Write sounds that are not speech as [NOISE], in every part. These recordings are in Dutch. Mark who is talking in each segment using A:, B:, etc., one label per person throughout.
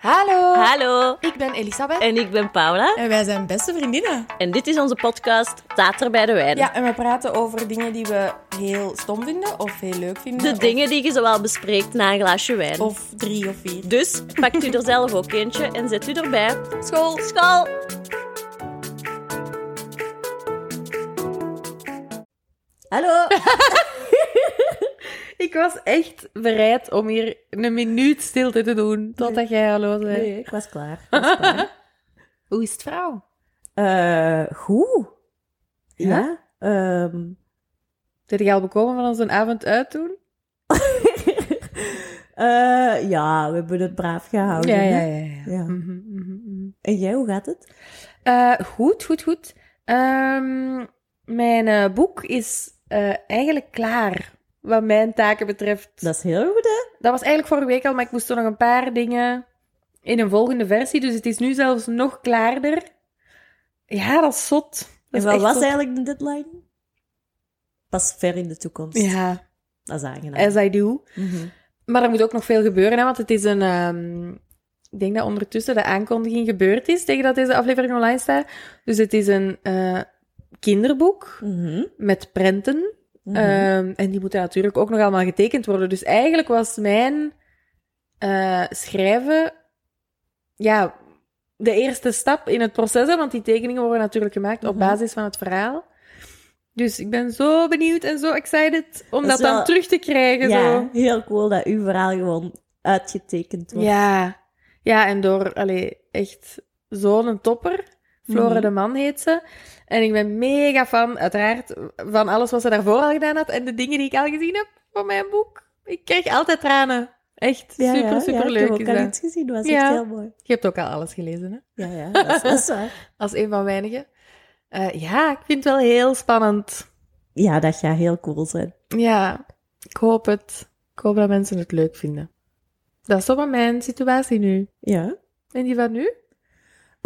A: Hallo.
B: Hallo,
A: Ik ben Elisabeth.
B: en ik ben Paula.
A: En wij zijn beste vriendinnen.
B: En dit is onze podcast Tater bij de Wijn.
A: Ja, en we praten over dingen die we heel stom vinden of heel leuk vinden.
B: De
A: of-
B: dingen die je zowel bespreekt na een glaasje wijn.
C: Oh.
A: Of drie of vier.
B: Dus pakt u er zelf ook eentje en zet u erbij.
A: School.
B: School! Hallo!
C: Ik was echt bereid om hier een minuut stilte te doen totdat jij hallo zei.
B: ik was klaar. Eh,
C: Hoe is het vrouw?
B: goed. Ehm,
C: Ja? Zit je al bekomen van ons een avond uit doen?
B: eh, ja, we hebben het braaf gehouden.
C: ja.
B: Ja.
C: Mhm, mhm, mhm.
B: En jij, hoe gaat het?
C: Eh, goed, goed, goed. Ehm, mijn eh, boek is eh, eigenlijk klaar, wat mijn taken betreft.
B: Dat is heel goed, hè?
C: Dat was eigenlijk vorige week al, maar ik moest er nog een paar dingen in een volgende versie. Dus het is nu zelfs nog klaarder. Ja, dat is zot. Dat
B: En
C: is
B: wat
C: echt
B: was
C: zot.
B: eigenlijk de deadline? Pas ver in de toekomst.
C: Ja,
B: Dat is aangenaam.
C: as I do.
B: Mhm.
C: Maar er moet ook nog veel gebeuren, hè, want het is een... ehm, ik denk dat ondertussen de aankondiging gebeurd is tegen dat deze aflevering online staat. Dus het is een eh, kinderboek
B: Mhm.
C: met prenten.
B: Mhm.
C: Ehm, en die moeten natuurlijk ook nog allemaal getekend worden. Dus eigenlijk was mijn eh, schrijven ja, de eerste stap in het proces. hè, Want die tekeningen worden natuurlijk gemaakt
B: Mhm.
C: op basis van het verhaal. Dus ik ben zo benieuwd en zo excited om
B: Dat is
C: dat,
B: wel-
C: dan terug te krijgen.
B: ja,
C: Zo.
B: heel cool dat uw verhaal gewoon uitgetekend wordt.
C: Ja. ja, en door allee, echt zo'n topper. Flora
B: Mhm.
C: de Man heet ze. En ik ben mega fan, uiteraard, van alles wat ze daarvoor al gedaan had. En de dingen die ik al gezien heb van mijn boek. Ik krijg altijd tranen. Echt
B: Ja,
C: super,
B: ja,
C: super
B: Ja, ik
C: leuk.
B: heb
C: is
B: ook al
C: dat.
B: iets gezien, dat was
C: Ja.
B: echt heel mooi.
C: Je hebt ook al alles gelezen, hè?
B: Ja, ja, dat is, dat is waar.
C: Als een van weinigen. Eh, ja, ik vind het wel heel spannend.
B: Ja, dat gaat heel cool zijn.
C: Ja, ik hoop het. Ik hoop dat mensen het leuk vinden. Dat is toch wel mijn situatie nu.
B: Ja.
C: En die van nu?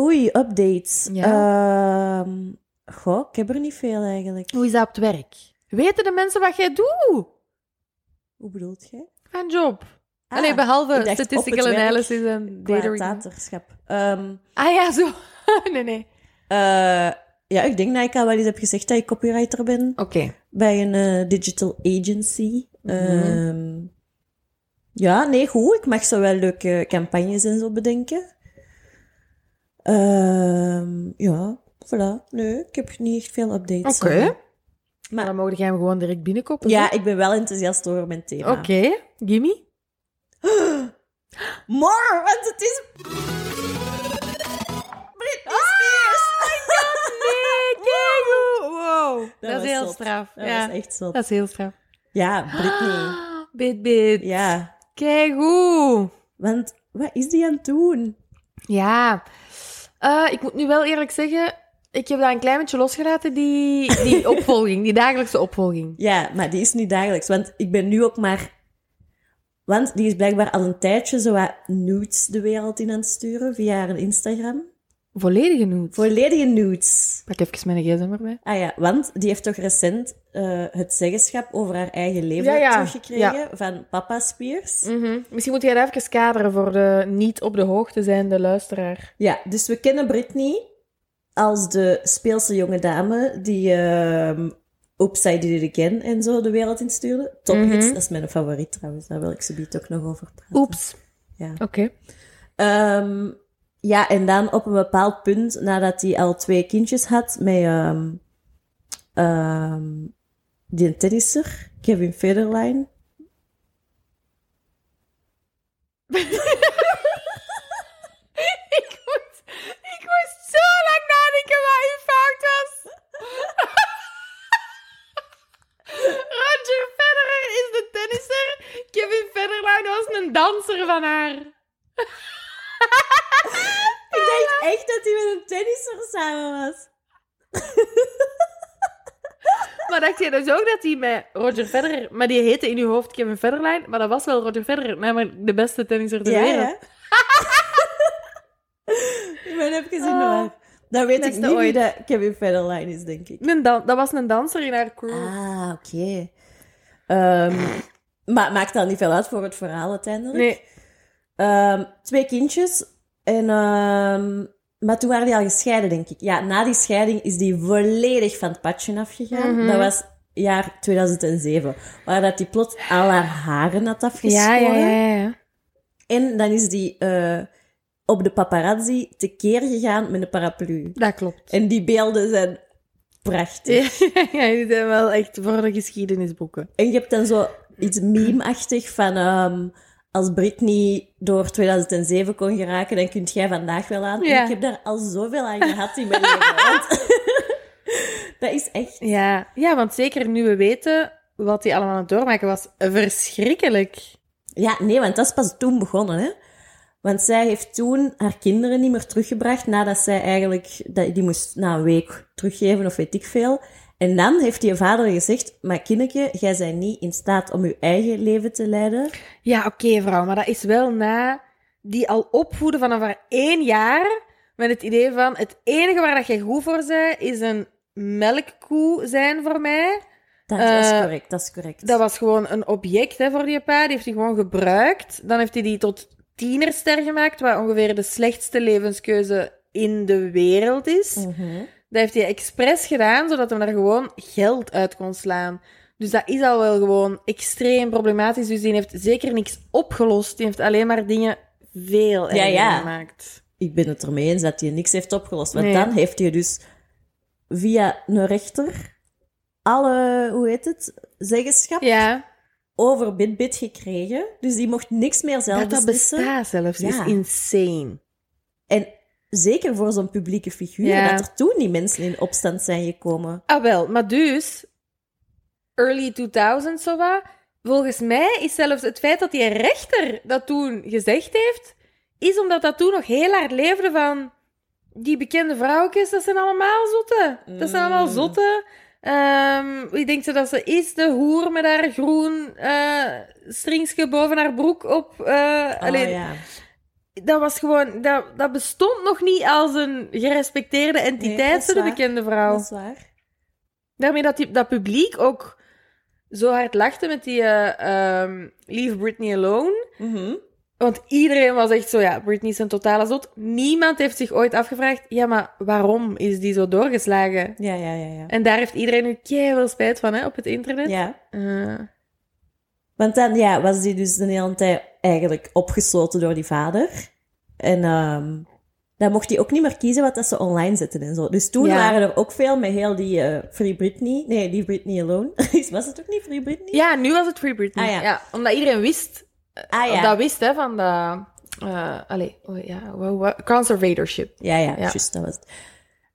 B: Oei, updates.
C: Ja.
B: Ehm, goh, ik heb er niet veel eigenlijk.
C: Hoe is dat op het werk? Weten de mensen wat jij doet?
B: Hoe bedoelt jij?
C: Mijn job.
B: Ah,
C: Allee, behalve
B: ik dacht op
C: statistical
B: het werk
C: analysis en
B: qua
C: data reading.
B: taterschap. Ehm,
C: Ah ja, zo. [LAUGHS] nee, nee.
B: eh, ja, ik denk dat ik al wel eens heb gezegd dat ik copywriter ben.
C: Oké.
B: bij een eh, digital agency.
C: Mhm.
B: Ehm, ja, nee, goed. Ik mag zo wel leuke campagnes en zo bedenken. Ehm, ja, voilà. Nee, ik heb niet echt veel updates.
C: Oké.
B: Sorry.
C: Maar
B: Maar-
C: dan mogen jij hem gewoon direct binnenkopen.
B: Ja,
C: hè?
B: ik ben wel enthousiast over mijn thema.
C: Oké, gimme.
B: More, want het is... Britney Spears!
C: Nee, kijk hoe- Wow. Dat,
B: was
C: is heel
B: zot.
C: straf.
B: Dat
C: ja.
B: was echt zo.
C: Dat is heel straf. Ah,
B: Ja, Britney.
C: Bit, bit.
B: Ja,
C: Kijk hoe.
B: want wat is die aan het doen?
C: Ja. Eh, ik moet nu wel eerlijk zeggen, ik heb daar een klein beetje losgelaten, die,
B: [LAUGHS]
C: die opvolging, die dagelijkse opvolging.
B: Ja, maar die is niet dagelijks. Want ik ben nu ook maar... Want die is blijkbaar al een tijdje zo wat nudes de wereld in aan het sturen via haar Instagram.
C: Volledige nudes.
B: Volledige nudes.
C: Pak even mijn gsm erbij.
B: Ah ja, want die heeft toch recent eh, het zeggenschap over haar eigen leven
C: Ja, ja.
B: teruggekregen van papa Spears.
C: Mhm. Misschien moet jij dat even kaderen voor de niet op de hoogte zijnde luisteraar.
B: Ja, dus we kennen Britney als de speelse jonge dame die ehm Upside Did It Again en zo de wereld instuurde. Tophits,
C: Mhm.
B: dat is mijn favoriet trouwens. Daar wil ik zo ook nog over praten.
C: Oeps.
B: Ja.
C: Oké. [LAUGHS]
B: Ehm, ja, en dan op een bepaald punt, nadat hij al twee kindjes had met ehm, ehm, die tennisser, Kevin Federline.
C: ik, moest, ik moest zo lang nadenken wat uw fout was. [LAUGHS] Roger Federer is de tennisser. Kevin Federline was een danser van haar.
B: Ik dacht echt dat hij met een tennisser samen was.
C: Maar dacht jij dus ook dat hij met Roger Federer... Maar die heette in uw hoofd Kevin Federline, maar dat was wel Roger Federer. Namelijk de beste tennisser ter
B: Ja,
C: wereld.
B: [LAUGHS] ja. Ik ben heb gezien,
C: Ah.
B: maar dan weet ik
C: Beste
B: niet wie
C: ooit.
B: dat Kevin Federline is, denk ik.
C: Een dan- dat was een danser in haar crew.
B: Ah, oké. Ehm, maar maakt dat niet veel uit voor het verhaal uiteindelijk?
C: nee.
B: Ehm, ehm, twee kindjes. En, ehm, maar toen waren die al gescheiden, denk ik. Ja, na die scheiding is die volledig van het padje afgegaan.
C: Mhm.
B: Dat was jaar 2007. Waar dat die plots al haar haren had
C: Ja,
B: afgeschoren.
C: ja, ja, ja.
B: En dan is die eh, op de paparazzi tekeer gegaan met een paraplu.
C: Dat klopt.
B: En die beelden zijn prachtig.
C: Ja, [LAUGHS] ja, die zijn wel echt voor de geschiedenisboeken.
B: En je hebt dan zo
C: [CLEARS THROAT]
B: iets meme-achtig van... ehm, als Britney door 2007 kon geraken, dan kunt jij vandaag wel aan. En
C: Ja.
B: ik heb daar al zoveel aan gehad in mijn [LAUGHS] leven. want- dat is echt...
C: Ja. ja, want zeker nu we weten wat die allemaal aan het doormaken was, verschrikkelijk.
B: Ja, nee, want dat is pas toen begonnen, hè. Want zij heeft toen haar kinderen niet meer teruggebracht, nadat zij eigenlijk... Dat, die moest na een week teruggeven, of weet ik veel. En dan heeft die vader gezegd... Maar kindje, jij bent niet in staat om je eigen leven te leiden.
C: Ja, oké, vrouw, maar dat is wel na die al opvoeden vanaf haar één jaar met het idee van het enige waar dat jij goed voor bent, is een melkkoe zijn voor mij.
B: Dat is
C: Eh,
B: correct, dat is correct.
C: Dat was gewoon een object hè, voor die pa. Die heeft hij gewoon gebruikt. Dan heeft hij die tot tienerster gemaakt, wat ongeveer de slechtste levenskeuze in de wereld is.
B: Mhm.
C: Dat heeft hij expres gedaan, zodat hij daar gewoon geld uit kon slaan. Dus dat is al wel gewoon extreem problematisch. Dus die heeft zeker niks opgelost. Die heeft alleen maar dingen veel erger
B: ja.
C: gemaakt.
B: ik ben het ermee eens dat hij niks heeft opgelost. Want
C: Nee.
B: dan heeft hij dus via een rechter alle, hoe heet het, zeggenschap
C: Ja,
B: over Bitbit gekregen. Dus die mocht niks meer zelf
C: dat dat
B: beslissen.
C: bestaat zelfs
B: dus- Ja.
C: is insane.
B: En zeker voor zo'n publieke figuur,
C: Ja.
B: dat er toen die mensen in opstand zijn gekomen.
C: Ah wel, maar dus, early 2000 zo wat, volgens mij is zelfs het feit dat die rechter dat toen gezegd heeft, is omdat dat toen nog heel hard leefde van die bekende vrouwtjes, dat zijn allemaal zotten. Dat zijn allemaal
B: Mm.
C: zotten. Ehm, wie denkt ze dat ze is? De hoer met haar groen eh stringsje boven haar broek op. eh alleen,
B: Oh, ja.
C: dat was gewoon, dat, dat bestond nog niet als een gerespecteerde
B: dat
C: entiteit,
B: is
C: zo de
B: waar.
C: bekende vrouw.
B: Dat is waar.
C: Daarmee dat die, dat publiek ook zo hard lachte met die eh, ehm, Leave Britney Alone.
B: Mhm.
C: Want iedereen was echt zo, ja, Britney is een totale zot. Niemand heeft zich ooit afgevraagd, ja, maar waarom is die zo doorgeslagen?
B: Ja, ja, ja, ja.
C: En daar heeft iedereen nu keihard spijt van, hè, op het internet.
B: ja.
C: Eh,
B: Want dan ja, was die dus de hele tijd eigenlijk opgesloten door die vader. En ehm, dan mocht hij ook niet meer kiezen wat dat ze online zetten en zo. Dus toen
C: Ja.
B: waren er ook veel met heel die eh, Free Britney. Nee, die Britney Alone. [LAUGHS] Dus was het ook niet Free Britney?
C: ja, nu was het Free Britney.
B: Ah, ja.
C: omdat iedereen wist,
B: Ah ja.
C: dat wist, hè, van de... eh allee, oh, ja, wa- wa- conservatorship.
B: Ja, ja,
C: Ja.
B: juist, dat was het.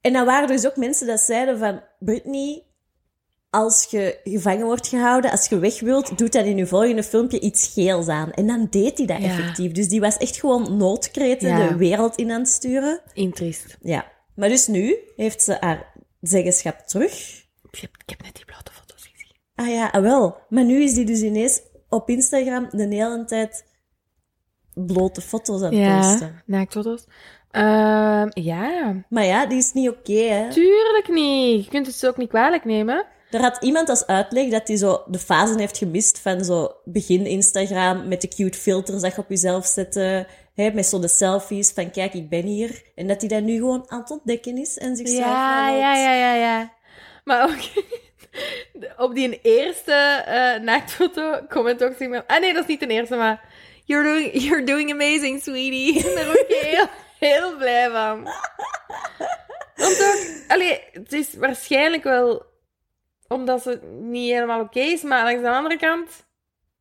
B: En dan waren er dus ook mensen dat zeiden van... Britney, als je gevangen wordt gehouden, als je weg wilt, doet dat in je volgende filmpje iets geels aan. En dan deed hij dat
C: Ja.
B: effectief. Dus die was echt gewoon noodkreten
C: Ja.
B: de wereld in aan het sturen.
C: Interest.
B: Ja. Maar dus nu heeft ze haar zeggenschap terug.
C: Ik heb, ik heb net die blote foto's gezien.
B: Ah ja, ah wel. Maar nu is die dus ineens op Instagram de hele tijd blote foto's aan het posten.
C: naaktfoto's. Ehm, ja,
B: Maar ja, die is niet oké, hè.
C: tuurlijk niet. Je kunt het ze ook niet kwalijk nemen.
B: Er had iemand als uitleg dat hij zo de fasen heeft gemist van zo begin Instagram met de cute filters dat je op jezelf zetten. Hè, met zo de selfies van kijk, ik ben hier. En dat hij dat nu gewoon aan het ontdekken is en zichzelf
C: Ja,
B: wel
C: ja,
B: wat-
C: ja, ja, ja. Maar ook [LAUGHS] op die eerste eh naaktfoto comment ook tegen me. Ah nee, dat is niet de eerste, maar... You're doing, you're doing amazing, sweetie. Daar word ik heel, heel blij van. Want ook... Allee, het is waarschijnlijk wel omdat ze niet helemaal oké is, maar langs de andere kant...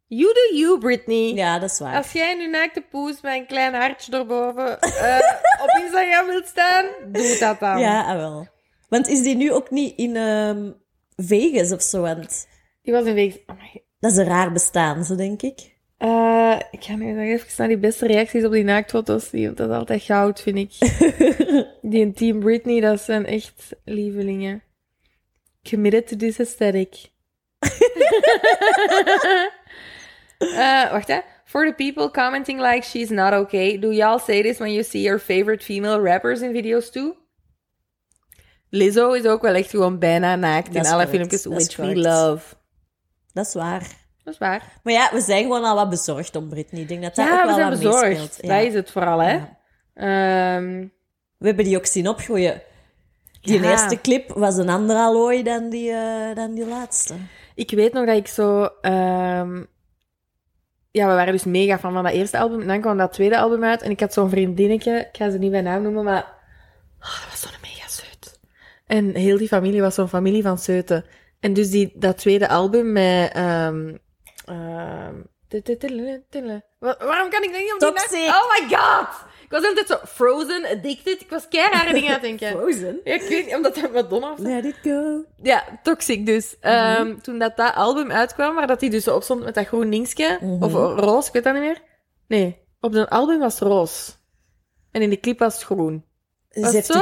C: You do you, Britney.
B: Ja, dat is waar.
C: Als jij nu naakte poes met een klein hartje erboven eh, op Instagram wilt staan, doe dat dan.
B: Ja, ah, wel. Want is die nu ook niet in ehm, Vegas of zo? Want
C: Die was in week. Oh my.
B: dat is een raar bestaan, zo denk ik.
C: Eh, ik ga nu nog even naar die beste reacties op die naaktfoto's zien. want Dat is altijd goud, vind [LAUGHS] ik. Die en Team Britney, dat zijn echt lievelingen. Committed to this aesthetic. [LAUGHS] Eh, wacht hè. For the people commenting like she's not okay, do y'all say this when you see your favorite female rappers in videos too? Lizzo is ook wel echt gewoon bijna naakt
B: Dat
C: in
B: is
C: alle
B: correct,
C: filmpjes,
B: dat is
C: which we
B: correct.
C: love.
B: dat is waar.
C: Dat is waar.
B: Maar ja, we zijn gewoon al wat bezorgd om Britney. Ik denk dat dat
C: ja,
B: ook
C: we
B: wel
C: zijn
B: wat meespeelt.
C: bezorgd.
B: Ja.
C: Dat is het vooral, hè.
B: Ja.
C: Ehm,
B: We hebben die ook zien opgroeien. Die
C: Ja.
B: eerste clip was een andere allooi dan die, eh, dan die laatste.
C: ik weet nog dat ik zo... ehm, ja, we waren dus mega fan van dat eerste album. En dan kwam dat tweede album uit. En ik had zo'n vriendinnetje. Ik ga ze niet bij naam noemen, maar... ah, dat was zo'n mega zeut. En heel die familie was zo'n familie van zeuten. En dus die, dat tweede album met... ehm, ehm, tudelele, tudelele. Wa- Waarom kan ik dat niet op die naam-
B: Toxic.
C: Oh my god! Ik was altijd zo frozen, addicted. Ik was kei rare dingen aan Eh, het
B: [LAUGHS]
C: denken.
B: Frozen?
C: Ja, ik weet niet, omdat dat Madonna of zo.
B: Let it go.
C: Ja, Toxic dus. Ehm, toen dat, dat album uitkwam, waar dat hij dus zo op stond met dat groen dingetje,
B: Mhm.
C: of roze, ik weet dat niet meer. Nee, op dat album was het roze. En in de clip was het groen.
B: Ze
C: Was het
B: heeft
C: zo?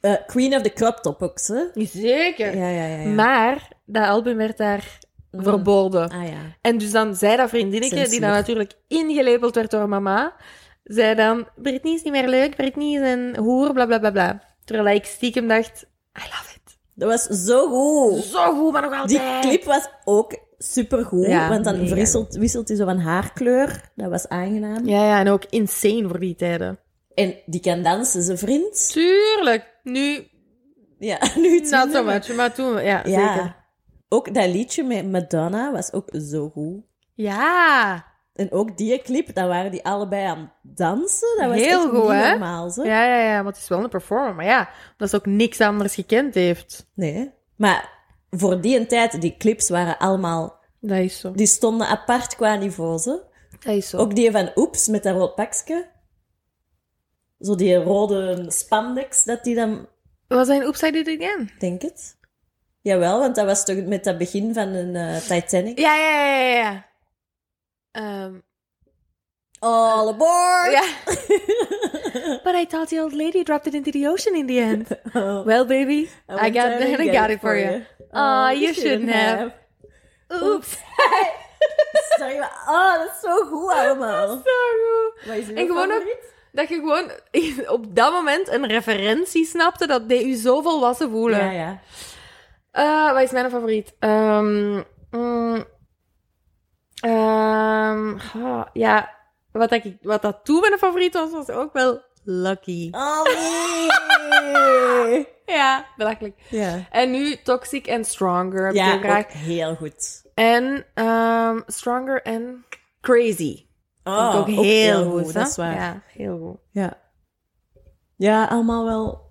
B: die, eh, Queen of the Crop Top ook, ze.
C: Zeker. Mhm.
B: Ja, ja, ja. ja.
C: Maar dat album werd daar
B: Mm.
C: verboden.
B: Ah ja.
C: En dus dan zei dat vriendinnetje, die
B: Censuur.
C: dan natuurlijk ingelepeld werd door mama, zei dan, Britney is niet meer leuk, Britney is een hoer, bla bla bla bla. Terwijl ik stiekem dacht, I love it.
B: Dat was zo goed.
C: Zo goed, maar nog
B: Die
C: altijd.
B: clip was ook supergoed.
C: Ja,
B: want dan
C: mega.
B: wisselt, wisselt hij zo van haarkleur. Dat was aangenaam.
C: Ja, ja, en ook insane voor die tijden.
B: En die kan dansen, zijn vriend.
C: Tuurlijk. Nu,
B: Ja, [LAUGHS] nu
C: not
B: het minder,
C: so
B: maar-
C: much, maar toen, ja,
B: Ja.
C: zeker.
B: Ook dat liedje met Madonna was ook zo goed.
C: Ja.
B: En ook die clip, daar waren die allebei aan het dansen. Dat was
C: Heel
B: echt
C: goed,
B: niet
C: hè?
B: normaal, zo.
C: Ja, ja, ja, want het is wel een performer, maar ja, omdat ze ook niks anders gekend heeft.
B: Nee. Maar voor die tijd, die clips waren allemaal...
C: Dat is zo.
B: Die stonden apart qua niveau, zo.
C: Dat is zo.
B: Ook die van Oeps, met dat rood pakje. Zo die rode spandex, dat die dan...
C: Was dat in Oops, I Did It Again?
B: Denk het? Jawel, want dat was toch met dat begin van een eh, Titanic.
C: Ja, ja, ja, ja, ja. Ehm,
B: All aboard!
C: ja. [LAUGHS] But I thought the old lady dropped it into the ocean in the end.
B: Oh,
C: Well, baby, I,
B: went
C: got,
B: there and
C: I got it for you.
B: Oh,
C: Aw, you shouldn't have. Oops.
B: Sorry, maar... Oh, dat is zo goed
C: [LAUGHS]
B: allemaal.
C: Sorry.
B: Wat is uw
C: En gewoon ook-
B: favoriet?
C: Dat je gewoon [LAUGHS] op dat moment een referentie snapte, dat deed u zo volwassen voelen.
B: Ja, ja.
C: Eh, wat is mijn favoriet? Ehm, mm, ehm, ah, ja, wat, dat ik, wat dat toen mijn favoriet was, was ook wel Lucky.
B: Oh, nee.
C: Ja, belachelijk.
B: ja.
C: En nu Toxic en Stronger heb ik
B: Ja,
C: heel graag.
B: ook heel goed.
C: En ehm, Stronger en Crazy.
B: Oh,
C: ook heel goed, hè?
B: dat is waar.
C: Ja, heel goed.
B: Ja. Ja, allemaal wel.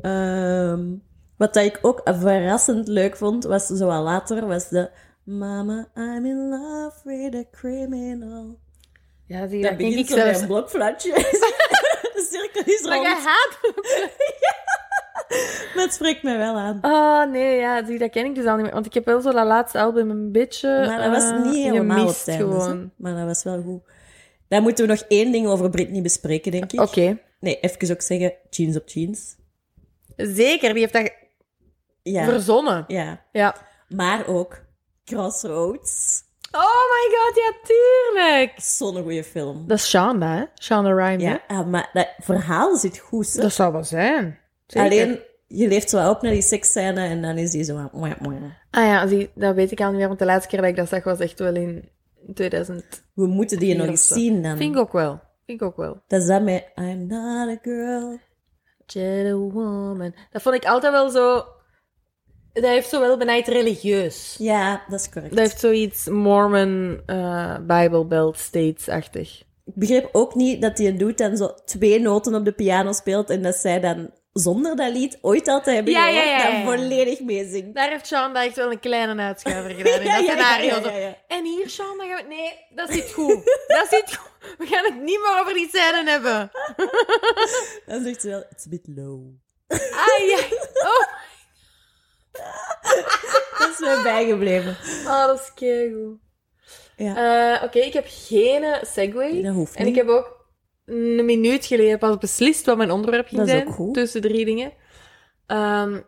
B: Ehm, wat dat ik ook verrassend leuk vond, was zo wat later, was de... Mama, I'm in love with a criminal.
C: Ja, die
B: Dat
C: dat denk
B: begint
C: ik
B: zo bij
C: zelfs.
B: een blokfluitje. [LAUGHS] de cirkel is
C: [LAUGHS] Maar jij
B: rond.
C: haat
B: Maar het spreekt mij wel aan.
C: Ah, nee, ja, zie, dat ken ik dus al niet meer. Want ik heb wel zo dat laatste album een beetje...
B: Maar dat was
C: eh,
B: niet helemaal op
C: gemist
B: het einde,
C: gewoon.
B: zo. Maar dat was wel goed. Daar moeten we nog één ding over Britney bespreken, denk ik.
C: Oké.
B: Nee, even ook zeggen, jeans op jeans.
C: Zeker, die heeft dat ge-
B: Ja,
C: verzonnen.
B: ja.
C: Ja.
B: Maar ook Crossroads.
C: Oh my god, ja, tuurlijk.
B: Zo'n goede film.
C: Dat is Shonda, hè? Shonda Rhimes, hè?
B: Ja, ah, maar dat verhaal zit goed, hè?
C: Dat zou wel zijn. Zeker.
B: Alleen, je leeft zo op naar die seksscène en dan is die zo... aan- mwah, mwah.
C: Ah ja, zie, dat weet ik al niet meer, want de laatste keer dat ik dat zag was echt wel in 2000.
B: We moeten die nog eens
C: Zo.
B: zien dan.
C: Vind ik ook wel. Vind ik ook wel.
B: Dat is dat met I'm not a girl.
C: Gentlewoman. Dat vond ik altijd wel zo... Dat heeft zo wel benijd religieus.
B: Ja, dat is correct.
C: Dat heeft zoiets Mormon, eh Bible Belt States-achtig.
B: Ik begreep ook niet dat die een doet en zo twee noten op de piano speelt en dat zij dan zonder dat lied ooit al te hebben
C: Ja, ja,
B: gehoord,
C: ja, ja, ja.
B: dan volledig meezingt.
C: Daar heeft Shonda echt wel een kleine uitschuiver gedaan [LAUGHS] in
B: Ja,
C: dat
B: ja, ja,
C: scenario.
B: ja,
C: Zo,
B: ja, ja.
C: En hier, Shonda, gaan we... Nee, dat zit goed. [LAUGHS] dat zit goed. We gaan het niet meer over die scène hebben.
B: Dan zegt ze wel, it's a bit low.
C: Ah, ja. Oh,
B: Dat is mij bijgebleven.
C: oh dat is keigoed.
B: Ja.
C: Eh, Oké, ik heb geen segue.
B: Dat hoeft
C: En ik
B: niet.
C: heb ook een minuut geleden pas beslist wat mijn onderwerp ging
B: Dat is
C: zijn.
B: ook goed.
C: Tussen drie dingen. Ehm,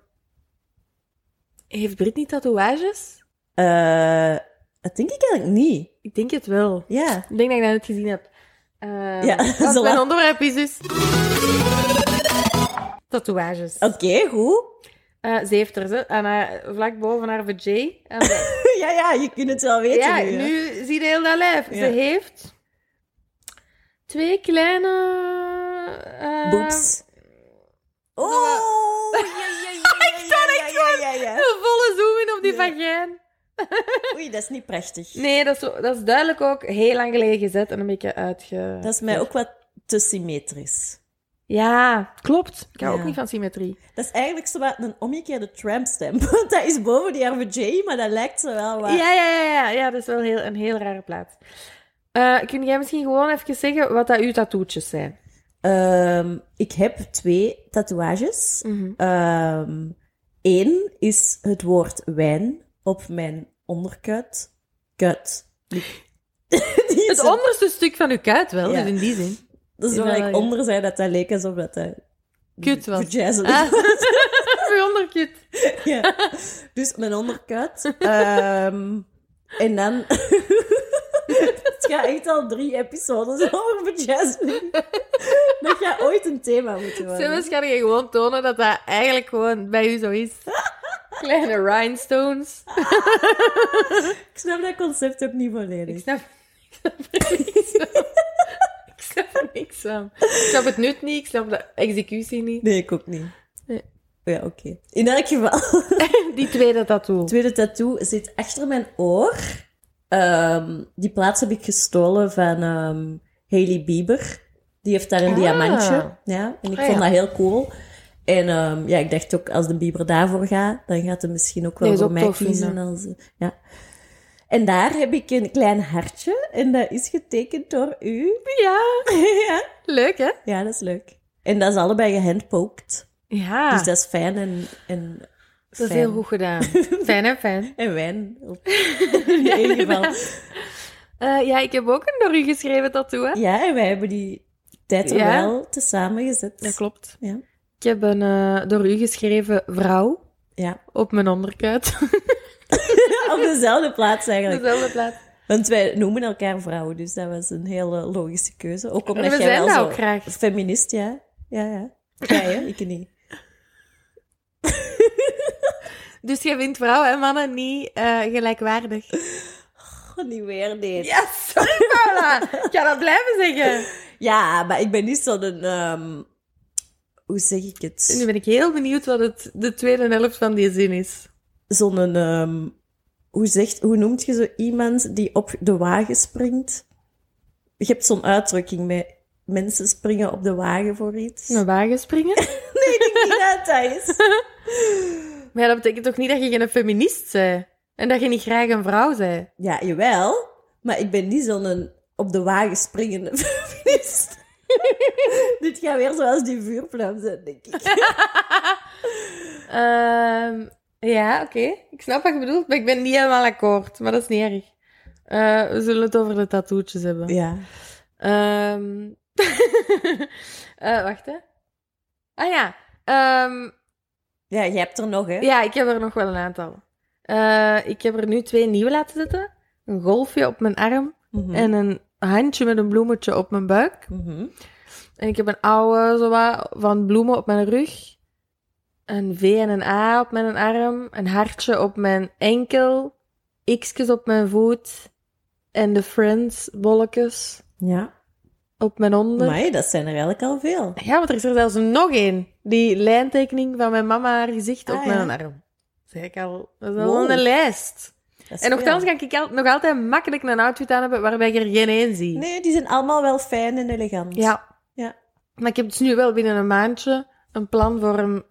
C: heeft Britney tatoeages?
B: Eh, dat denk ik eigenlijk niet.
C: Ik denk het wel.
B: Ja.
C: Ik denk dat ik dat net gezien heb. Eh,
B: Ja, [LAUGHS]
C: dat is
B: zo
C: mijn
B: wat. Oh.
C: onderwerp is dus... Tatoeages.
B: Oké, goed. [LAUGHS]
C: Eh, ze heeft er ze, aan haar, vlak boven haar vajay.
B: [LAUGHS]
C: Aan de-
B: ja, ja, je kunt het wel weten
C: ja,
B: nu. hè.
C: nu zie je heel dat lijf.
B: Ja.
C: Ze heeft twee kleine... eh,
B: Boobs. Oh! Ik kan het [LAUGHS] ja, ja, ja.
C: [LAUGHS] Een volle zoom in op die
B: Ja.
C: vagijn. [LAUGHS]
B: Oei, dat is niet prachtig.
C: Nee, dat is, zo- dat is duidelijk ook heel lang geleden gezet en een beetje uitge...
B: Dat is mij ook wat te symmetrisch.
C: Ja, klopt. Ik hou
B: Ja.
C: ook niet van symmetrie.
B: Dat is eigenlijk zo wat een omgekeerde trampstamp. Want [LAUGHS] dat is boven die RVJ, maar dat lijkt zo wel wat...
C: Ja, ja, ja, ja, ja, dat is wel heel, een heel rare plaats. Eh, kun jij misschien gewoon even zeggen wat dat uw tattoetjes zijn?
B: Ehm, ik heb twee tatoeages. Eén Ehm, is het woord wijn op mijn onderkuit. Kut. Die [LAUGHS] is
C: Het
B: een-
C: onderste stuk van uw kuit wel,
B: Ja.
C: dus in die zin.
B: Dat is
C: Ja,
B: omdat
C: ja.
B: ik onder zei dat dat leek alsof dat... dat
C: Kut was.
B: vajazzelig
C: Ah. Uw onderkut.
B: [LAUGHS] Ja. Dus mijn
C: [LAUGHS]
B: onderkuit. ehm, en dan... [LAUGHS] Het gaat echt al drie episodes over vajazzling. [LAUGHS] Dat gaat ooit een thema moeten worden.
C: Soms kan je gewoon tonen dat dat eigenlijk gewoon bij u zo is. Kleine rhinestones.
B: Ik snap dat concept ook niet volledig.
C: Ik snap, [LAUGHS] ik snap er niks van. Ik snap er niks van. Ik snap het nut niet, ik snap de executie
B: [LAUGHS]
C: niet.
B: Nee, ik ook niet.
C: Nee.
B: Ja, oké. In elk geval,
C: Die tweede tattoo.
B: het tweede tattoo zit achter mijn oor. Ehm, die plaats heb ik gestolen van ehm Hailey Bieber. Die heeft daar een
C: Ah.
B: diamantje. Ja, en ik
C: Ah,
B: vond
C: ja.
B: dat heel cool. En ehm, ja, ik dacht ook, als de Bieber daarvoor gaat, dan gaat hij misschien ook wel
C: Nee, is
B: voor
C: ook
B: mij
C: tof,
B: kiezen. Als, eh, ja. En daar heb ik een klein hartje. En dat is getekend door u. [LAUGHS]
C: Ja,
B: ja.
C: leuk hè?
B: ja, dat is leuk. En dat is allebei gehandpoked.
C: Ja,
B: Dus dat is fijn en, en
C: dat is
B: fijn.
C: heel goed gedaan. Fijn en fijn. [LAUGHS]
B: En wijn. Op... In ieder geval.
C: Eh, ja, ik heb ook een door u geschreven tattoo. Hè?
B: Ja, en wij hebben die tijd
C: Ja.
B: wel tezamen gezet.
C: Dat klopt.
B: Ja.
C: Ik heb een eh, door u geschreven vrouw
B: Ja,
C: op mijn onderkuit.
B: op dezelfde plaats
C: [LAUGHS]
B: eigenlijk.
C: Dezelfde plaats.
B: Want wij noemen elkaar vrouwen, dus dat was een hele logische keuze. Ook omdat
C: we
B: jij
C: zijn
B: wel
C: dat
B: zo...
C: ook graag.
B: Feminist, ja. Ja, ja. Jij,
C: [LAUGHS]
B: hè? Ik niet.
C: Dus jij vindt vrouwen en mannen niet eh, gelijkwaardig.
B: Oh, niet weer, nee. Ja.
C: Ja, sorry Paula. Ik ga dat blijven zeggen.
B: maar ik ben niet zo'n... ehm Hoe zeg ik het?
C: Nu ben ik heel benieuwd wat het, de tweede helft van die zin is.
B: Zo'n... ehm, hoe, zegt, hoe noemt je zo iemand die op de wagen springt? Je hebt zo'n uitdrukking met mensen springen op de wagen voor iets.
C: Een wagen springen?
B: niet dat dat is.
C: Maar ja, dat betekent toch niet dat je geen feminist bent? En dat je niet graag een vrouw bent?
B: Ja, jawel. Maar ik ben niet zo'n op de wagen springende [LAUGHS] feminist. Dit gaat weer zoals die vuurvlam zijn, denk ik.
C: Ehm, ja, oké. Ik snap wat je bedoelt, maar ik ben niet helemaal akkoord. Maar dat is niet erg. Eh, we zullen het over de tattoetjes hebben.
B: Ja.
C: Ehm, [LAUGHS] eh, wacht, hè. Ah ja. Ehm,
B: Ja, je hebt er nog, hè?
C: ja, ik heb er nog wel een aantal. Eh, ik heb er nu twee nieuwe laten zitten. Een golfje op mijn arm
B: Mhm.
C: en een handje met een bloemetje op mijn buik.
B: Mhm.
C: En ik heb een oude zo wat, van bloemen op mijn rug. Een V en een A op mijn arm. Een hartje op mijn enkel. X's op mijn voet. En de Friends bolletjes
B: Ja.
C: op mijn onder.
B: Maar dat zijn er eigenlijk al veel.
C: Ja, want er is er zelfs nog één. Die lijntekening van mijn mama haar gezicht op
B: Ah,
C: mijn
B: ja.
C: arm. Zeg ik al. Dat is al
B: Wow.
C: een lijst.
B: Dat is
C: En
B: veel.
C: nogthans kan ik al- nog altijd makkelijk een outfit aan hebben waarbij ik er geen één zie.
B: Nee, die zijn allemaal wel fijn en elegant.
C: Ja.
B: Ja.
C: Maar ik heb dus nu wel binnen een maandje een plan voor [GASPS] een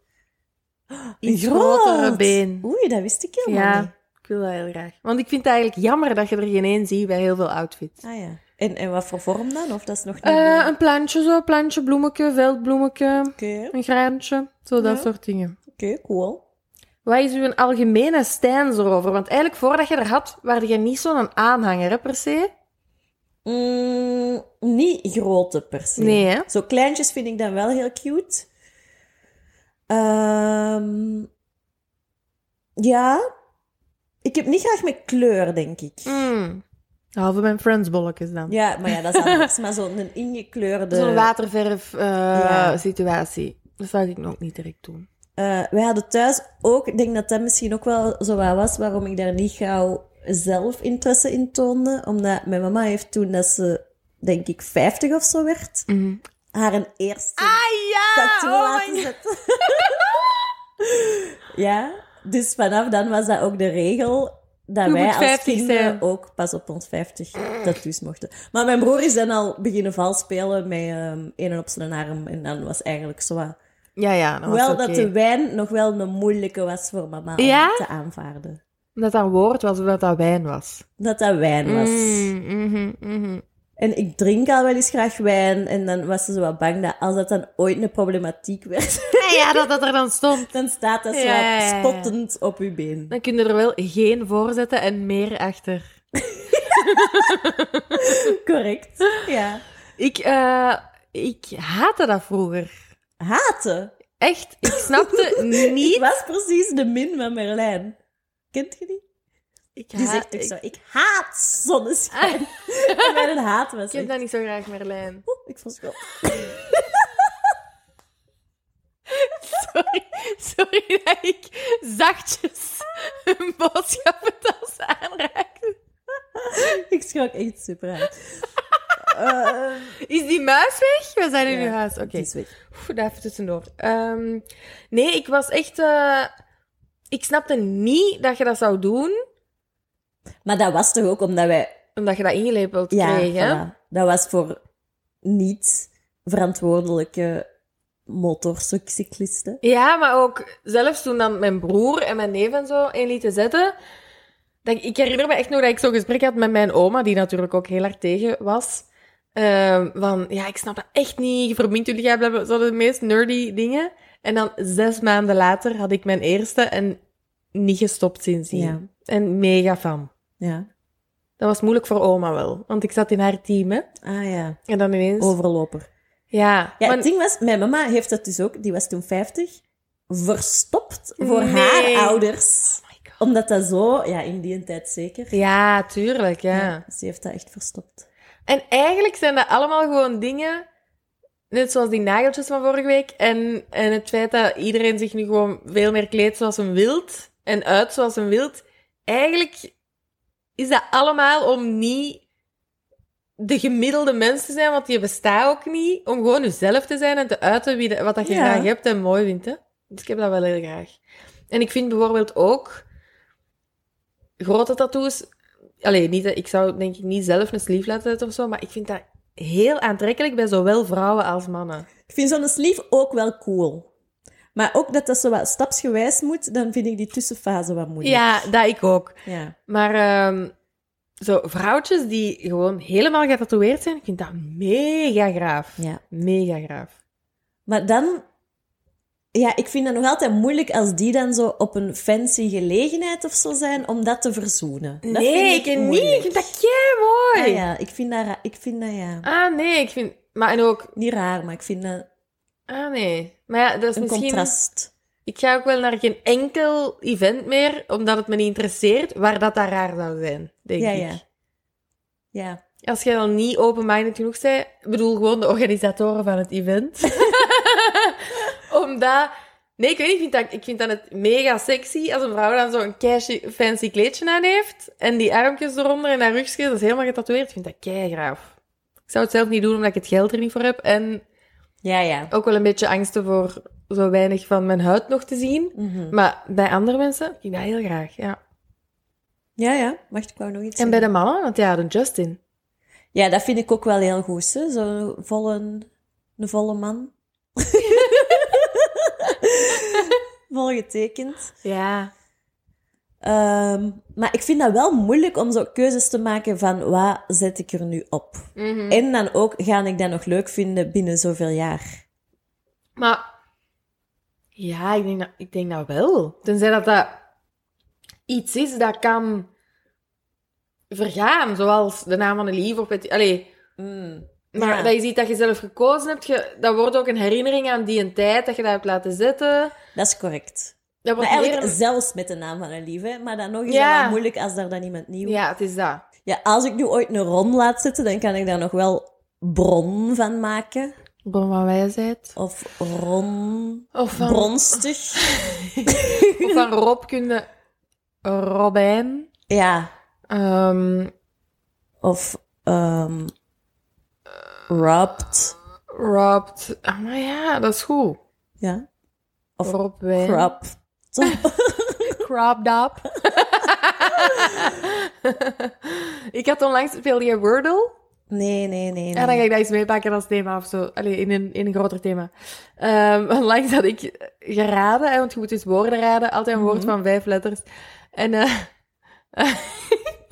B: Een
C: iets grotere
B: groot.
C: been.
B: Oei, dat wist ik helemaal
C: Ja,
B: niet.
C: ik wil dat heel graag. Want ik vind het eigenlijk jammer dat je er geen één ziet bij heel veel outfits.
B: Ah ja. En, en wat voor vorm dan? Of dat is nog niet...
C: Eh, een plantje zo, plantje, bloemetje, veldbloemetje,
B: Oké, oké,
C: een graantje, zo dat
B: Ja.
C: soort dingen.
B: cool.
C: Wat is uw algemene stijns erover? Want eigenlijk voordat je er had, waren je niet zo'n aanhanger hè, per se.
B: Mm, niet grote per se.
C: Nee, hè?
B: Zo kleintjes vind ik dan wel heel cute. Ehm, ja. Ik heb niet graag met kleur, denk ik.
C: Mm. Halve mijn friendsbolletjes dan.
B: Ja, maar ja, dat is anders. maar zo'n ingekleurde...
C: Zo'n waterverf eh,
B: Ja.
C: situatie. Dat zou ik nog niet direct doen.
B: Eh, wij hadden thuis ook, ik denk dat dat misschien ook wel zo wat was waarom ik daar niet gauw zelf interesse in toonde. Omdat mijn mama heeft toen dat ze, denk ik, 50 of zo werd, haar een eerste tattoo
C: oh
B: laten zetten. [LAUGHS] ja, dus vanaf dan was dat ook de regel dat
C: Je
B: wij
C: moet
B: als
C: 50
B: kinderen
C: zijn.
B: ook pas op ons 50 tattoos mochten. Maar mijn broer is dan al beginnen vals spelen met ehm een op zijn arm en dan was eigenlijk zo wat
C: Ja, ja, dat was
B: wel
C: oké.
B: dat de wijn nog wel een moeilijke was voor mama om
C: Ja?
B: te aanvaarden.
C: Omdat dat woord was of dat dat wijn was.
B: Dat dat
C: Mm,
B: wijn was.
C: mhm, [LAUGHS]
B: En ik drink al wel eens graag wijn. En dan was ze zo wat bang dat als dat dan ooit een problematiek werd, [LAUGHS]
C: Ja, Ah ja, dat dat er dan stond.
B: dan staat dat zo
C: Ja, ja, ja.
B: wat spottend op uw been.
C: Dan kun je er wel geen voor zetten en meer achter.
B: Correct. Ja.
C: Ik, eh, ik haatte dat vroeger.
B: Haten.
C: Echt, ik [LAUGHS] snapte niet...
B: Ik was precies de min van Merlijn. Kent je die?
C: Ik,
B: Die
C: haat-
B: zegt ook
C: ik-
B: zo, ik haat
C: [LAUGHS]
B: zonneschijn. en mijn haat was
C: ik heb
B: echt,
C: dat niet zo graag, Merlijn.
B: oeh, ik vond het wel.
C: [LAUGHS] Sorry, sorry dat ik zachtjes een boodschappentas aanraakte.
B: Ik schrok echt super hard.
C: Is die muis weg? We zijn in
B: Ja,
C: uw huis. Oké.
B: Die is weg.
C: Oef, daar even tussendoor. Ehm, nee, ik was echt... eh, ik snapte niet dat je dat zou doen,
B: Maar dat was toch ook omdat wij
C: omdat je dat ingelepeld
B: Ja,
C: kreeg, hè?
B: voilà. dat was voor niet verantwoordelijke motorcyclisten.
C: Ja, maar ook zelfs toen dan mijn broer en mijn neef en zo in lieten zetten. Dat ik, ik herinner me echt nog dat ik zo'n gesprek had met mijn oma, die natuurlijk ook heel hard tegen was. Ehm, van, ja, ik snap dat echt niet, je verbindt jullie, jij blijft zo de meest nerdy dingen. En dan zes maanden later had ik mijn eerste en niet gestopt sindsdien.
B: Ja.
C: En mega fan.
B: Ja.
C: Dat was moeilijk voor oma wel, want ik zat in haar team, hè.
B: Ah ja,
C: En dan ineens...
B: overloper.
C: Ja,
B: Ja,
C: maar-
B: het ding was, mijn mama heeft dat dus ook, die was toen 50, verstopt voor
C: Nee.
B: haar ouders.
C: Oh my God.
B: Omdat dat zo, ja, in die tijd zeker.
C: Ja, tuurlijk, ja.
B: Ze heeft dat echt verstopt.
C: En eigenlijk zijn dat allemaal gewoon dingen, net zoals die nageltjes van vorige week, en, en het feit dat iedereen zich nu gewoon veel meer kleedt zoals een wilt, en uit zoals een wilt. Eigenlijk is dat allemaal om niet de gemiddelde mens te zijn, want je bestaat ook niet, om gewoon jezelf te zijn en te uiten wie de- wat dat je
B: Ja.
C: graag hebt en mooi vindt. Hè? Dus ik heb dat wel heel graag. En ik vind bijvoorbeeld ook grote tattoos. Allee, niet, dat- ik zou denk ik niet zelf een sleeve laten zetten of zo, maar ik vind dat heel aantrekkelijk bij zowel vrouwen als mannen.
B: Ik vind zo'n sleeve ook wel cool. Maar ook dat dat zo wat stapsgewijs moet, dan vind ik die tussenfase wat moeilijk.
C: Ja, dat ik ook.
B: Ja.
C: Maar ehm, zo vrouwtjes die gewoon helemaal getatoeëerd zijn, ik vind dat mega graaf.
B: ja.
C: Mega graaf.
B: Maar dan... Ja, ik vind dat nog altijd moeilijk als die dan zo op een fancy gelegenheid of zo zijn om dat te verzoenen. Dat
C: nee, ik, niet.
B: moeilijk.
C: Ik vind dat kei mooi.
B: Ah ja, ik vind dat, ra- ik vind dat ja.
C: ah nee, ik vind... Maar en ook...
B: Niet raar, maar ik vind dat
C: Ah nee. Maar ja, dat is
B: een
C: misschien...
B: contrast.
C: Ik ga ook wel naar geen enkel event meer, omdat het me niet interesseert waar dat daar raar zou zijn, denk
B: Ja,
C: ik.
B: ja. Ja.
C: Als jij dan niet open-minded genoeg bent, ik bedoel gewoon de organisatoren van het event. [LAUGHS] omdat... Nee, ik weet niet, ik vind, dat, ik vind dat het mega sexy als een vrouw dan zo'n kei fancy kleedje aan heeft en die armpjes eronder en haar rugjes, dat is helemaal getatoeëerd. Ik vind dat kei graaf. Ik zou het zelf niet doen, omdat ik het geld er niet voor heb en
B: Ja, ja.
C: ook wel een beetje angsten voor zo weinig van mijn huid nog te zien.
B: Mhm.
C: Maar bij andere mensen, ik dat heel graag, ja.
B: Ja, ja. Wacht, ik wou nog iets
C: En bij
B: zeggen.
C: de mannen, want ja, de Justin.
B: Ja, dat vind ik ook wel heel goed, hè. Zo'n volle, een volle man. [LAUGHS] Volgetekend.
C: Ja.
B: Ehm, maar ik vind dat wel moeilijk om zo keuzes te maken van wat zet ik er nu op.
C: Mhm.
B: En dan ook, ga ik dat nog leuk vinden binnen zoveel jaar?
C: Maar, ja, ik denk, dat, ik denk dat wel. Tenzij dat dat iets is dat kan vergaan, zoals de naam van de lief of... Het, allee, maar
B: Mm. Ja.
C: dat is iets dat je zelf gekozen hebt. Je, dat wordt ook een herinnering aan die een tijd dat je dat hebt laten zitten.
B: Dat is correct.
C: Dat
B: Maar
C: wordt
B: eigenlijk
C: meer een-
B: zelfs met de naam van een lieve, maar dan nog is
C: Ja.
B: dat wel moeilijk als daar dan iemand nieuw... Ja.
C: Ja, het is dat.
B: als ik nu ooit een ron laat zitten, dan kan ik daar nog wel bron van maken.
C: Bron van wijsheid.
B: Of ron...
C: Of van,
B: bronstig.
C: [LAUGHS] of van Rob kun je Robijn.
B: ja.
C: ehm,
B: Of ehm rubbed.
C: robbed. Ah, maar ja, dat is goed.
B: Ja. Of
C: Robijn.
B: Crap.
C: [LAUGHS] Cropped up. ik had onlangs, speelde je Wordle?
B: Nee, nee, nee.
C: Ja, dan ga
B: nee.
C: ik dat eens meepakken als thema of zo. Allee, in een, in een groter thema. Ehm [LAUGHS] onlangs had ik geraden, hè, want je moet dus woorden raden. Altijd een woord
B: Mhm.
C: van vijf letters. En eh, [LAUGHS]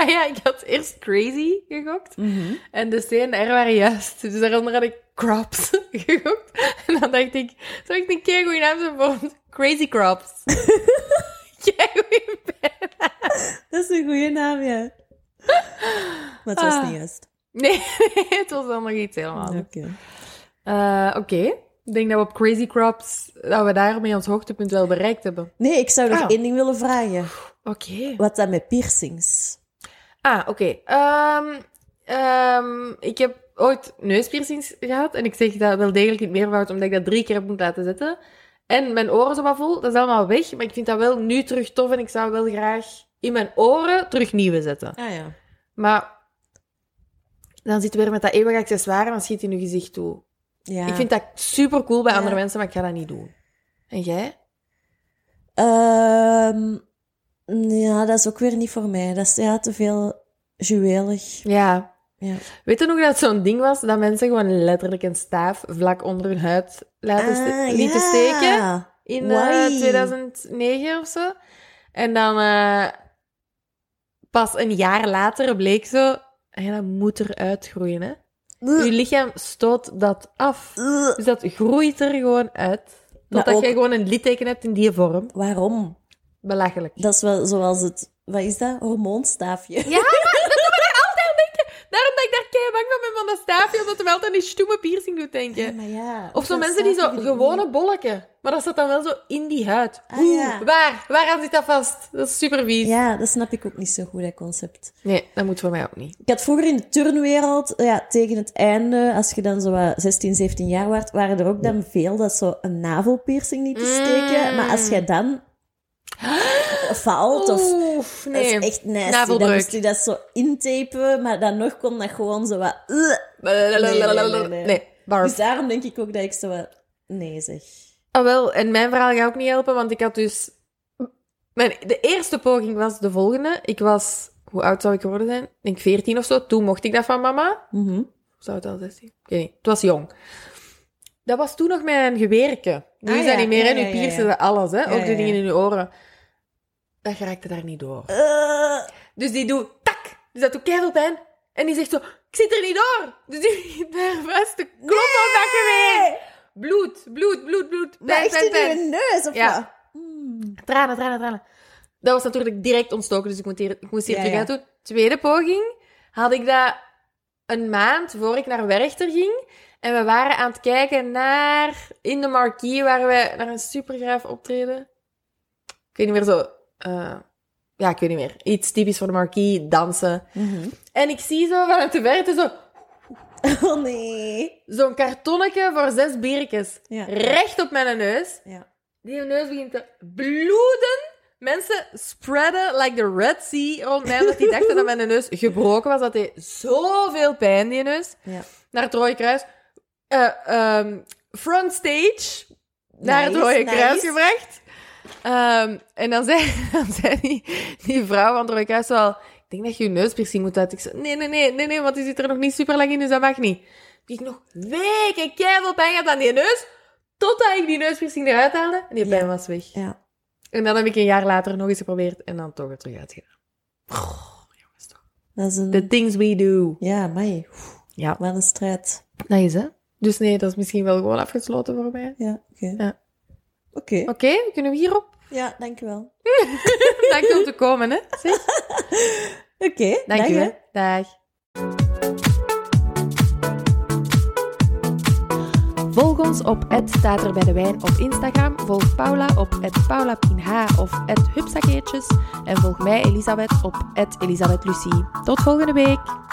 C: ah ja, ik had eerst crazy gegokt.
B: Mhm.
C: En de C en de R waren juist. Dus daaronder had ik crops [LAUGHS] gegokt. En dan dacht ik, zou ik een keer goede naam zijn voor crazy
B: [LAUGHS]
C: crops. [LAUGHS] Keigoeie pen.
B: Dat is een goede naam, ja. Maar het was
C: Ah.
B: niet juist.
C: Nee, [LAUGHS] het was dan nog iets helemaal.
B: Oké.
C: anders. Eh, Oké. Ik denk dat we op Crazy Crops, dat we daarmee ons hoogtepunt wel bereikt hebben.
B: Nee, ik zou nog
C: Ah.
B: één ding willen vragen.
C: Oké.
B: Wat dat met piercings?
C: Ah, oké. Ehm, ehm, ik heb ooit neuspiercings gehad. En ik zeg dat wel degelijk in het meervoud, omdat ik dat drie keer heb moeten laten zitten. En mijn oren zo wat vol, dat is allemaal weg. Maar ik vind dat wel nu terug tof. En ik zou wel graag in mijn oren terug nieuwe zetten.
B: Ah ja.
C: Maar dan zit we weer met dat eeuwige accessoire en dan schiet in je gezicht toe.
B: ja.
C: Ik vind dat super cool bij
B: Ja.
C: andere mensen, maar ik ga dat niet doen. En jij?
B: Ehm, ja, dat is ook weer niet voor mij. Dat is ja, te veel juwelig.
C: Ja.
B: Ja.
C: Weet je nog dat het zo'n ding was dat mensen gewoon letterlijk een staaf vlak onder hun huid laten ste-
B: Ah,
C: lieten
B: ja.
C: steken? In eh,
B: Why?
C: 2009 of zo. En dan eh, pas een jaar later bleek zo... Ja, dat moet eruit groeien, hè.
B: Ugh.
C: Uw lichaam stoot dat af.
B: Ugh.
C: Dus dat groeit er gewoon uit.
B: Maar
C: Totdat
B: ook-
C: jij gewoon een litteken hebt in die vorm.
B: Waarom?
C: Belachelijk.
B: Dat is wel zoals het... Wat is dat? Hormoonstaafje.
C: Ja, maar dat doet me daar altijd aan denken. Daarom dat ik daar kei bang van ben van dat staafje, omdat hij altijd aan die stoeme piercing doet
B: Ja,
C: denken.
B: maar ja.
C: Of zo
B: dat
C: mensen die zo
B: staafje vind ik
C: gewone
B: niet.
C: bolken, maar dat zit dan wel zo in die huid.
B: Ah,
C: Oeh,
B: ja.
C: waar? Waaraan zit dat vast? Dat is super vies.
B: Ja, dat snap ik ook niet zo goed, dat concept.
C: Nee, dat moet voor mij ook niet.
B: Ik had vroeger in de turnwereld, ja, tegen het einde, als je dan zo wat 16, 17 jaar werd, waren er ook dan veel dat zo een navelpiercing niet te steken.
C: Mm.
B: Maar als jij [GASPS] dan valt of...
C: Oef, nee.
B: Dat is echt nasty. Dan
C: Navelbreuk.
B: moest je dat zo intapen, maar dan nog kon dat gewoon zo wat... "Ugh." nee, nee.
C: Nee, barf.
B: Dus daarom denk ik ook dat ik zo wat... Nee zeg.
C: Ah, wel, en mijn verhaal gaat ook niet helpen, want ik had dus... Mijn, de eerste poging was de volgende. Ik was... Hoe oud zou ik geworden zijn? Ik denk 14 of zo. Toen mocht ik dat van mama.
B: Mhm.
C: Of zou het al 16? Ik weet niet. Het was jong. Dat was toen nog mijn gewerken. Nu
B: Ah,
C: is dat
B: ja.
C: niet meer,
B: Ja,
C: en
B: ja,
C: nu
B: ja,
C: piercen
B: ja.
C: ze alles, hè.
B: Ja,
C: Ook
B: ja,
C: de
B: ja.
C: dingen in je oren. Dat raakte daar niet door.
B: Eh,
C: Dus die doet tak. Dus dat doet keihard pijn. En die zegt zo, ik zit er niet door. Dus die [LAUGHS] begint daar vast te kloppen op dat geweer. Bloed, bloed, bloed, bloed. Pijn,
B: maar echt
C: pijn,
B: in
C: pijn.
B: je neus of
C: Ja.
B: wat? Hmm.
C: Tranen, tranen, tranen. Dat was natuurlijk direct ontstoken, dus ik moest hier, ik moest hier
B: Ja,
C: terug
B: ja.
C: aan doen. Tweede poging had ik dat een maand voor ik naar Werchter ging. En we waren aan het kijken naar... In de marquee waar we naar een supergraaf optreden. Ik weet niet meer zo... eh, ja, ik weet niet meer. Iets typisch voor de marquee, dansen.
B: Mhm.
C: En ik zie zo vanuit de verte zo...
B: [LAUGHS] Oh nee.
C: Zo'n kartonnetje voor zes biertjes.
B: Ja.
C: Recht op mijn neus.
B: Ja.
C: Die neus begint te bloeden. Mensen spreaden like the Red Sea rond mij, omdat die dachten dat mijn neus gebroken was. Dat deed zoveel pijn, die neus.
B: Ja.
C: Naar het Rode Kruis. Eh, ehm, front stage. Naar het
B: Nice,
C: Rode
B: nice.
C: Kruis gebracht. Ehm, en dan zei, [LAUGHS] dan zei die, die vrouw van het Rode Kruis wel... Ik denk dat je je neuspiercing moet uit. Ik zei, nee, nee, nee, nee, nee, want die zit er nog niet super lang in, dus dat mag niet. Die ik nog weken keihard pijn had aan die neus. Totdat ik die neuspiercing eruit haalde en die pijn
B: Ja.
C: was weg.
B: Ja.
C: En dan heb ik een jaar later nog eens geprobeerd en dan toch er terug uitgedaan. Goh, jongens, toch.
B: Dat is een...
C: The things we do.
B: Ja, mij.
C: Ja.
B: Wat een strijd.
C: Dat is hè. Dus nee, dat is misschien wel gewoon afgesloten voor mij.
B: Ja, oké.
C: Ja.
B: Oké.
C: Oké, kunnen we hierop?
B: Ja, dankjewel.
C: Dank je om te komen, hè. Zeg.
B: Oké,
C: Dank je.
B: hè.
C: hè. Dag. Volg ons op staat er bij de wijn op Instagram. Volg Paula op paulapinh of hupsakeertjes. En volg mij, Elisabeth, op Elisabeth Lucie. Tot volgende week.